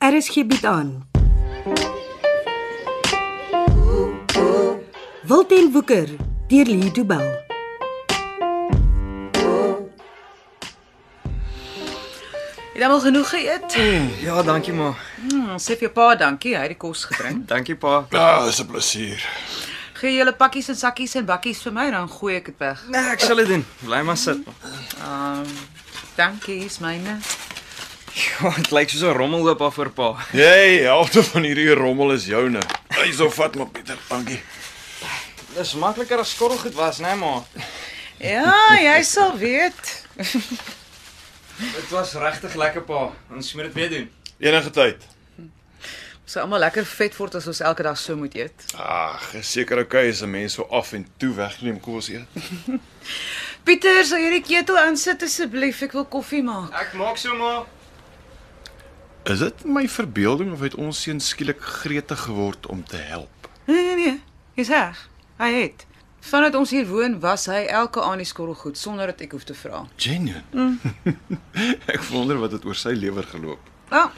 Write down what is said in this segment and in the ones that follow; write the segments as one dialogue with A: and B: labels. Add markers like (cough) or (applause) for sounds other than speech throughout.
A: RSG bied Er aan. Wilten Woeker deur Lee Du Bell.
B: Het almal genoeg geëet?
C: Ja, dankie ma.
B: Hmm, sê vir jou pa dankie, hy het die kos gebring.
C: Dankie pa.
D: Ja, dis 'n plesier.
B: Gee julle pakkies en sakkies en bakkies vir my dan gooi ek dit weg.
C: Nee, ek sal dit doen. Bly maar sit. ma.
B: Um, dankie, is myne.
C: Ja, dit lyk soos 'n rommelhoop af vir pa.
D: Jy, helfte van hierdie rommel is joune. Hyso vat maar Pieter, dankie.
C: Dis makliker as skottelgoed was, né nee, ma?
B: Ja, jy sal weet.
C: Dit was regtig lekker pa. Ons moet dit weer doen.
D: Enige tyd.
B: Ons sal almal lekker vet word as ons elke dag so moet eet.
D: Ag, is seker okay as 'n mens so af en toe wegneem kos eet.
B: Pieter, sal jy die ketel aansit asseblief? Ek wil koffie maak.
C: Ek maak so maar.
D: Is dit my verbeelding of het ons seun skielik gretig geword om te help?
B: Nee nee nee, jy's reg. Hy het. Vandat ons hier woon was hy elke aand die skottelgoed sonder dat ek hoef te vra.
D: Genuine. (laughs) ek wonder wat het oor sy lewer geloop.
B: Wel.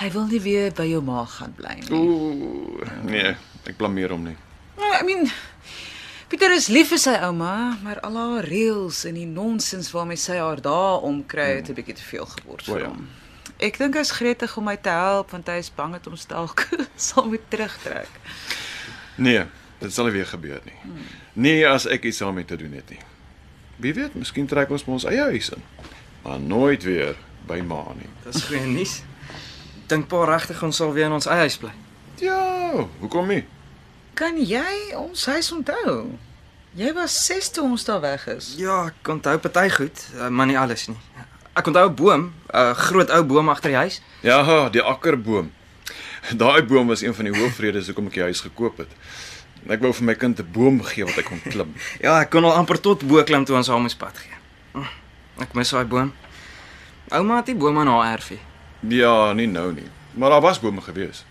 B: Hy wil nie weer by jou ma gaan bly nie.
D: Ooh, nee, ek blameer hom nie.
B: Nou, I mean Pieter is lief vir sy ouma, maar al haar reëls en die nonsens waarmee sy haar dae omkry het 'n bietjie te veel geword
D: Hmm. O,
B: vir
D: ja.
B: hom. Ek dink hy's gretig om my te help want hy is bang dat ons dalk (laughs) sal moet terugtrek.
D: Nee, dit sal nie weer gebeur nie. Nee, as ek iets daarmee te doen het nie. Wie weet, miskien trek ons by ons eie huis in. Maar nooit weer by ma nie.
C: Dis goeie nuus. Dink pa regtig ons sal weer in ons eie huis bly.
D: Ja, hoekom nie?
B: Kan jy ons huis onthou? Jy was 6 toe ons daar weg is.
C: Ja, ek onthou party goed, eh, maar nie alles nie. Ek onthou 'n boom, 'n groot ou boom agter die huis.
D: Ja, die akkerboom. Daai boom was een van die hoofredes hoekom ek die huis gekoop het. Ek wou vir my kind 'n boom gee wat hy kon klim.
C: Ja, ek kon al amper tot bo klim toe ons haar moes pad gee. Hm, Ek mis daai boom. Ouma het die boom aan haar erfie.
D: Ja, nie nou nie, maar daar was bome gewees.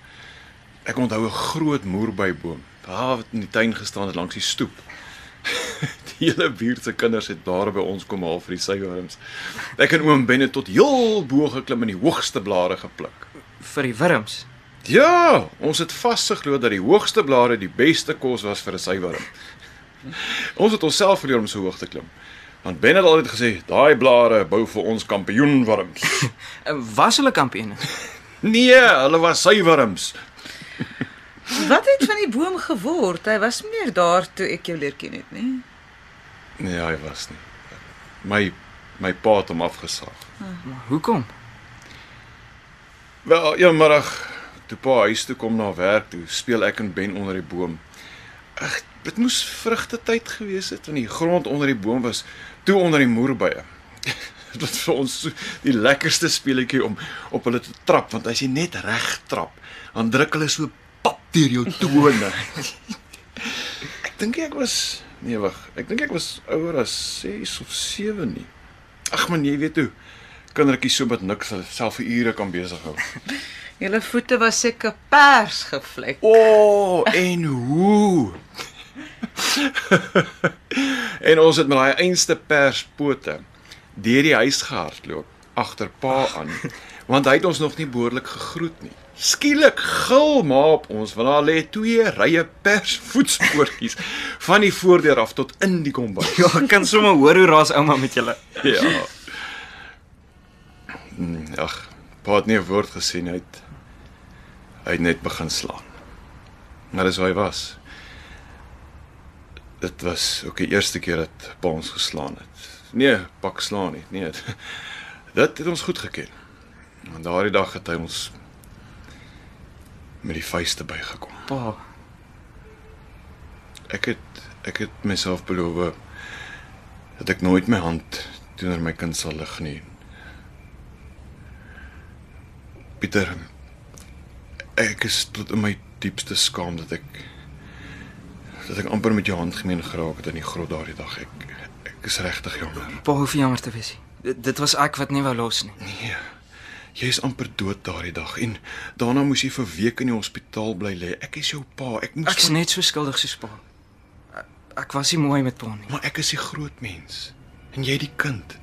D: Ek onthou 'n groot moerbeiboom. Daar wat in die tuin gestaan het langs die stoep. (laughs) Die hele buurt se kinders het daar by ons kom haal vir die suiwerings. Ek en oom Ben het tot heel bo geklim en die hoogste blare gepluk.
C: vir die wurms.
D: Ja, ons het vasgeglo dat die hoogste blare die beste kos was vir 'n suiwering. (laughs) Ons het onsself geleer om so hoog te klim. Want Ben het altyd gesê, daai blare bou vir ons kampioenwurms.
C: Eh, Was hulle kampioene?
D: (laughs) Nee, hulle was suiwurms.
B: Wat het van die boom geword? Hy was nie meer daar toe ek jou leer ken het nie.
D: Nee, hy was nie. My my pa het hom afgesaag.
C: Hoekom?
D: Wel, eendag toe pa huis toe kom na werk toe, speel ek en Ben onder die boom. Ag, dit moes vrugtetyd gewees het want die grond onder die boom was toe onder die moerbye. (laughs) Dit was vir ons so die lekkerste speletjie om op hulle te trap want as jy net reg trap, dan druk hulle so pap deur jou tone. ek dink ek was nee wag, ek dink ek was ouer as 6 of 7 nie. Ag man, jy weet hoe kindertjies so met niks hulle self vir ure kan besig hou.
B: Julle voete was seker pers gevlek.
D: O, oh, en hoe? (laughs) en ons het met daai einste perspote deur die huis gehardloop agter pa aan, want hy het ons nog nie behoorlik gegroet nie. Skielik gil ma op ons want daar lê twee rye persvoetspoortjies van die voordeur af tot in die kombuis.
C: Ja, ek kan sommer hoor hoe raas ouma met julle.
D: Ja. Mm, Ag, pa het nie 'n woord gesien hy het hy het net begin slaan. Maar dis hoe hy was. Dit was ook die eerste keer dat pa ons geslaan het. Nee, pak slaan nie. Nee. (laughs) Dit het ons goed geken. En daardie dag het hy ons met die vuiste bygekom.
C: Pa,
D: Ek het ek het myself beloof dat ek nooit my hand teenoor my kind sal lig nie. Pieter, ek is tot in my diepste skaam dat ek dat ek amper met jou hand gemeen geraak het in die grot daardie dag. Ek ek is regtig jammer.
C: pa hoef nie jammer te wees nie. Dit- Dit was ek wat nie wou los nie.
D: Nee. Jy is amper dood daardie dag en daarna moes jy vir weke in die hospitaal bly lê. Ek is jou pa. Ek moes
C: Ek's net so skuldig soos pa. Ek was nie mooi met pa nie.
D: Maar ek is die groot mens en jy die kind.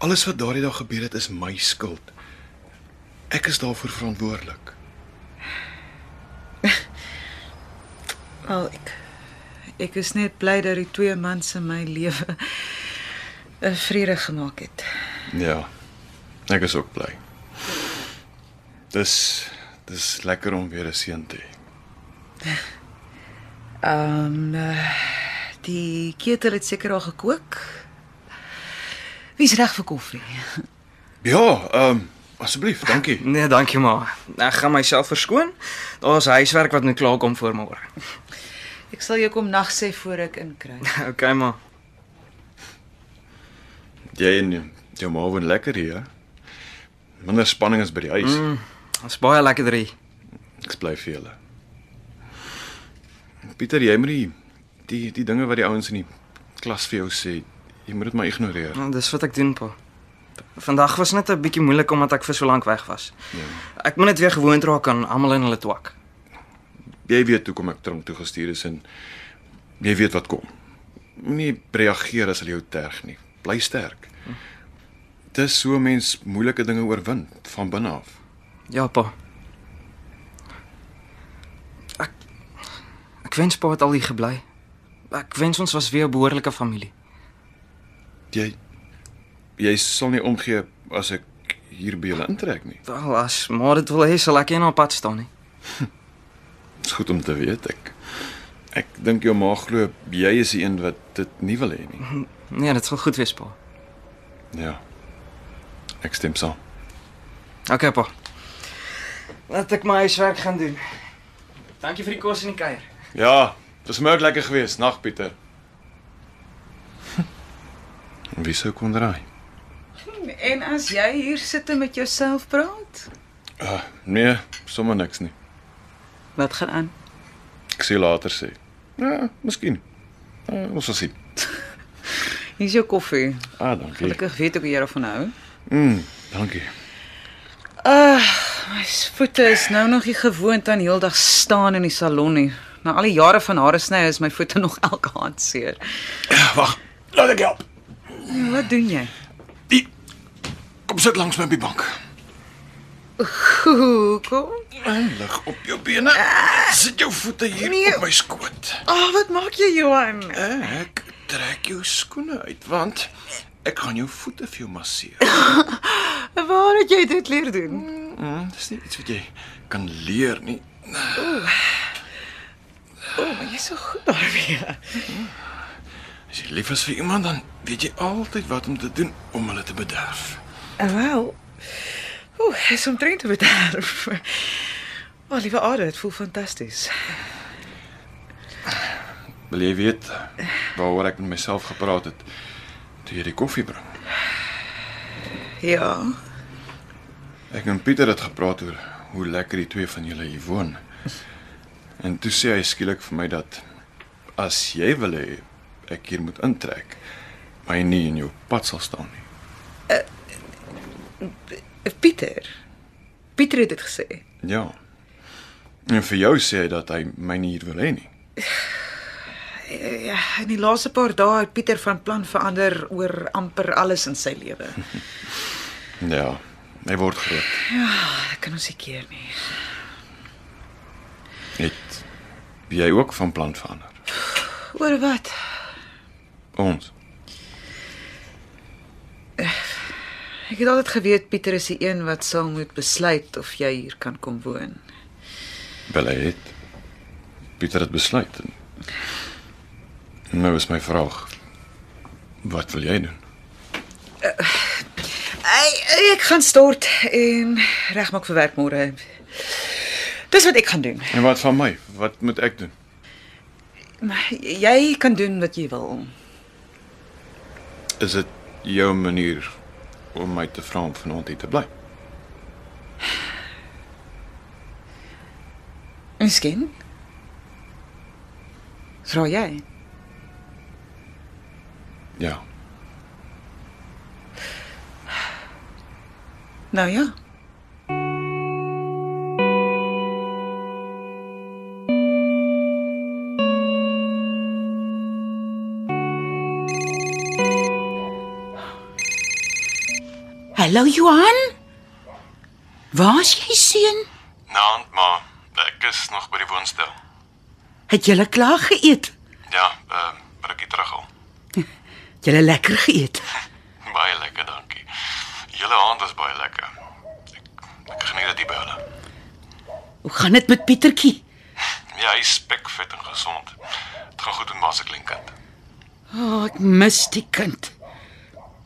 D: Alles wat daardie dag gebeur het is my skuld. Ek is daarvoor verantwoordelik.
B: Al ek ek is net bly dat die twee mans in my lewe 'n vrede gemaak het.
D: Ja. Ek is ook bly. Dis dis lekker om weer 'n seun te hê.
B: Ehm eh, die ketel het seker al gekook. Wie's reg vir koffie?
D: Ja, ehm um, asseblief, dankie.
C: Nee, dankie maar. Ek gaan myself verskoon. Daar's huiswerk wat moet klaarkom voor môre.
B: Ek sal jou kom nag sê voor ek inkry.
C: (laughs) Okay maar.
D: (laughs) Jy en jou ma woon lekker hier. hè? Minder spanning is by die huis. Mm.
C: Ons baie lekker drie.
D: Ek bly vir julle. Pieter, jy moet die die die dinge wat die ouens in die klas vir jou sê, jy moet dit maar ignoreer.
C: Nou, dis wat ek doen, pa. Vandag was net 'n bietjie moeilik omdat ek vir so lank weg was. Ja. Ek moet net weer gewoond raak aan almal in hulle twak.
D: Jy weet hoekom ek tronk toe gestuur is en jy weet wat kom. Moenie reageer as hulle jou terg nie. Bly sterk. Dis so 'n mens moeilike dinge oorwin van binne af.
C: Ja, pa. Ek ek wens pa het al hier gebly. Ek wens ons was weer 'n behoorlike familie.
D: Jy jy sal nie omgee as ek hier by julle intrek nie.
C: Wel, as maar dit wil hê sal ek nie op pad staan nie.
D: Dis goed om te weet ek. Ek dink jou ma glo jy is die een wat dit nie wil hê nie.
C: Nee, dit sal goed wees, pa.
D: Ja. Ek stem saam.
C: Okay, pa. Laat ek my huiswerk gaan doen. Dankie vir die kos en die kuier.
D: Ja, dis merk lekker geweest, nag (laughs) Pieter. Wie sou kon draai?
B: En as jy hier sit en met jouself praat,
D: Uh, nee, sommer niks nie.
B: wat gaan aan?
D: Ek sê later sê. Ja, miskien. Uh, ons sal sien.
B: Hier's jou koffie.
D: Ah, dankie.
B: Gelukkig weet ek hoe jy daarvan hou.
D: Mm, dankie.
B: Ag, my voete is nou nog nie gewoond aan heeldag staan in die salon nie. Na al die jare van hare sny is my voete (laughs) nog elke aand seer.
D: Wag, laat ek help.
B: Wat doen jy?
D: Die Kom sit langs my op die bank.
B: Hoekom?
D: En lig op jou bene. Sit jou voete hier
B: Nee.
D: op my skoot.
B: Ah, oh, wat maak jy, Johan?
D: Ek trek jou skoene uit want ek gaan jou voete vir jou masseer.
B: Waar het jy dit leer doen?
D: Mm, dis nie iets wat jy kan leer nie.
B: O, oh, maar jy's so goed daarmee.
D: As jy lief is vir iemand dan weet jy altyd wat om te doen om hulle te bederf.
B: Wow. Ooh, is omtrent te bederf. O, oh, liewe Ada, dit voel fantasties.
D: Wil jy weet waaroor ek met myself gepraat het toe jy die koffie bring?
B: Ja.
D: Ek en Pieter het gepraat oor hoe lekker die twee van julle hier (laughs) woon. En toe sê hy skielik vir my dat as jy wil hê ek hier moet intrek, my nie in jou pad sal staan nie.
B: Eh, Pieter. Pieter het dit gesê.
D: Ja. En vir jou sê hy dat hy my nie hier wil hê nie.
B: Ja, in die laaste paar dae het Pieter van plan verander oor amper alles in sy lewe.
D: Ja, hy word groot.
B: Ek kan ons nie keer nie.
D: Het jy ook van plan verander?
B: Oor wat?
D: Ons.
B: Ek het altyd geweet Pieter is die een wat sal moet besluit of jy hier kan kom woon.
D: Wel hy het Pieter het besluit. En nou is my vraag. Wat wil jy doen?
B: Ai, ek gaan stort en regmaak vir werk môre. Dis wat ek gaan doen.
D: En wat van my? Wat moet ek doen?
B: Maar Jy kan doen wat jy wil.
D: Is dit jou manier om my te vra om vanaand hier te bly?
B: Miskien. Vra jy?
D: Ja.
B: Nou ja.
E: Hallo Johan. Waar's jy seun?
D: Naand ma, ek is nog by die woonstel.
E: Het jy klaar geëet?
D: Ja, ehm uh, rukkie terug al.
E: Jy het lekker geëet.
D: Baie lekker, dankie. Julle aand was baie lekker. Ek, ek geniet dit hier by hulle.
E: Hoe gaan dit met Pietertjie?
D: Ja, hy is spekvet en gesond. Dit gaan goed met ma se kleinkind.
E: O, oh, ek mis die kind.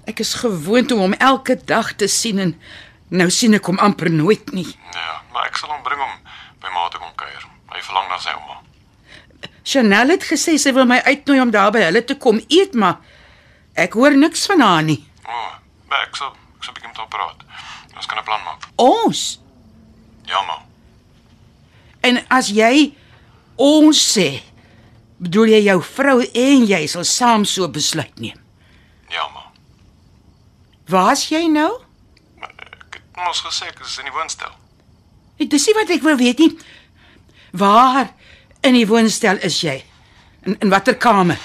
E: Ek is gewoond om hom elke dag te sien en nou sien ek hom amper nooit nie.
D: Ja, maar ek sal hom bring om by ma te kom kuier. Hy verlang na sy ouma.
E: Chanel het gesê sy wil my uitnooi om daar by hulle te kom eet, maar ek hoor niks van haar nie.
D: O, oh, maar ek sal ek sal bietjie met hom praat. Ons kan 'n plan maak.
E: Ons.
D: Ja, ma.
E: En as jy ons sê, bedoel jy jou vrou en jy sal saam so besluit neem.
D: Ja, ma.
E: Waar's jy nou?
D: Maar Ek het mos gesê ek is in die woonstel.
E: Dit is nie wat ek wil weet nie. Waar in die woonstel is jy? In in watter kamer?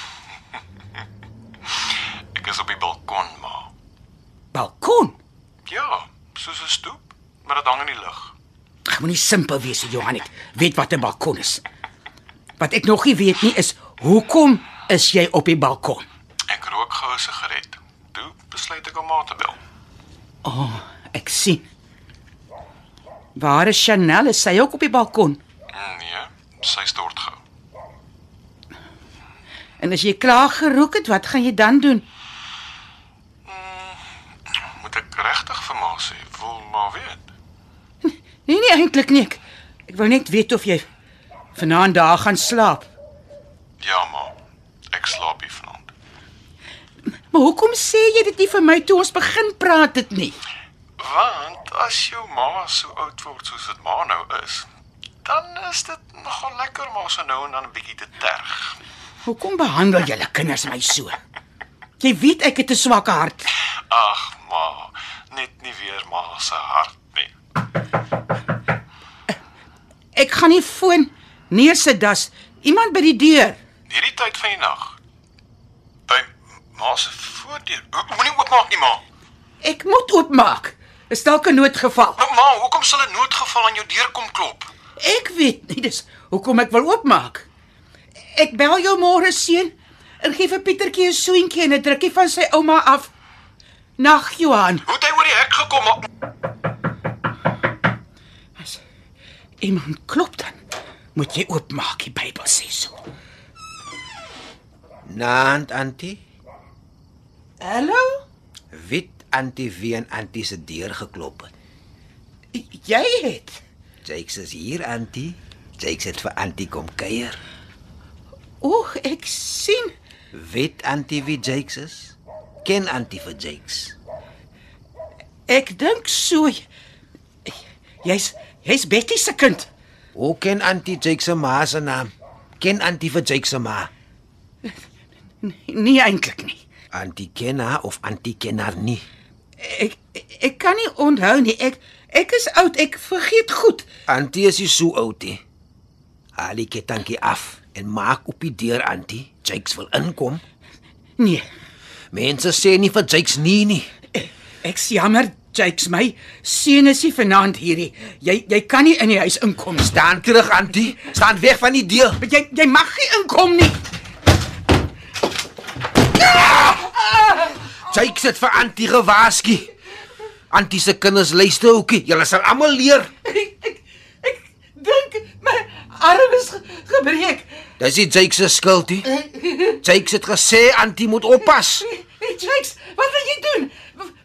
D: Ek is op die balkon, ma.
E: Balkon.
D: Ja, soos 'n stoep, maar dit hang in die lug.
E: Ag, moenie simpel wees, Johanet. Weet wat 'n balkon is. Wat ek nog nie weet nie is hoekom is jy op die balkon?
D: Ek rook gou 'n sigaret. Toe besluit ek om ma te bel.
E: Ek sien. Waar is Chanel? Is sy ook op die balkon?
D: Nee, sy stort gou.
E: En as jy klaar gerook het, wat gaan jy dan doen?
D: Moet ek regtig vir ma sê? Wil ma weet?
E: Nee nee, eintlik nie. Ek, ek wou net weet of jy vanaand daar gaan slaap.
D: Ja, ma. Ek slaap hier vanaand.
E: Maar hoekom sê jy dit nie vir my toe ons begin praat dit nie?
D: Want as jou ma so oud word soos wat ma nou is, dan is dit nogal lekker om haar so nou en dan 'n bietjie te terg.
E: Hoekom behandel julle kinders my so? Jy weet ek het 'n swak hart.
D: Ag, ma, net nie weer ma se hart nie.
E: Ek gaan die foon neersit das iemand by die deur.
D: Hierdie tyd van die nag. By ma se voordeur. O, Moenie oopmaak nie, ma.
E: Ek moet oopmaak. Is dalk 'n noodgeval.
D: Maar ma, hoekom sal 'n noodgeval aan jou deur kom klop?
E: Ek weet nie dis hoekom ek wil oopmaak. Ek bel jou môre seun en gee vir Pietertjie 'n soentjie en 'n drukkie van sy ouma af. Nag Johan.
D: Hoe het hy oor die hek gekom? Ma?
E: As iemand klop dan moet jy oopmaak, die Bybel sê so.
F: Naand antie,
E: Hallo?
F: wit antie wie en antie se deur geklop het.
E: Jy het.
F: Jakes is hier antie. Jakes het vir antie kom kuier.
E: Oeg, ek sien.
F: Weet antie wie Jakes is? Ken antie vir Jakes?
E: Ek dink so. Jy's jy's Betty se kind.
F: Hoe ken antie Jakes se ma se naam? Ken antie vir Jakes se ma?
E: Nee eintlik nie.
F: Antie ken haar of antie ken haar nie.
E: Ek ek kan nie onthou nie. Ek ek is oud. Ek vergeet goed.
F: Antie is nie so oud nie. Haal die kettingkie af en maak op die deur antie. Jakes wil inkom.
E: Nee.
F: Mense sê nie vir Jakes nie nie.
E: Ek is jammer, Jakes my seun is nie vanaand hierdie. Jy jy kan nie in die huis inkom staan.
F: Staan terug antie. Staan weg van die deur.
E: Maar Jy jy mag nie inkom nie.
F: Jakes het vir Antie gewaarsku. Antie se kinders luister ookie. Julle sal almal leer.
E: Ek ek, ek dink my arm is ge- gebreek.
F: Dis nie Jakes se skuld nie. Jakes het gesê Antie moet oppas.
E: Jakes, wat wil jy doen?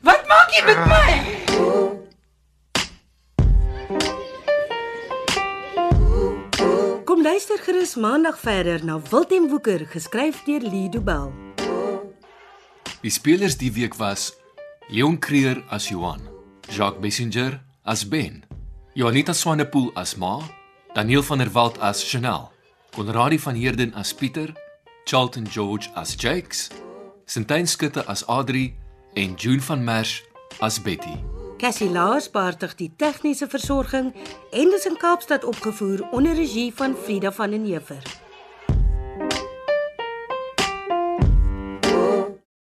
E: Wat maak jy met my?
A: Kom luister gerus maandag verder na Wilten Woeker geskryf deur Lido Bell.
G: Die spelers die week was Leon Creer as Johan, Jacques Messenger as Ben, Janita Swanepoel as Ma, Daniel van der Walt as Chanel, Konradi van Heerden as Pieter, Charlton George as Jakes, Sintyn Skutte as Adri en June van Merwe as Betty.
A: Cassie Lars beheerdig die tegniese versorging en dit is in Kaapstad opgevoer onder regie van Frida van den Heever.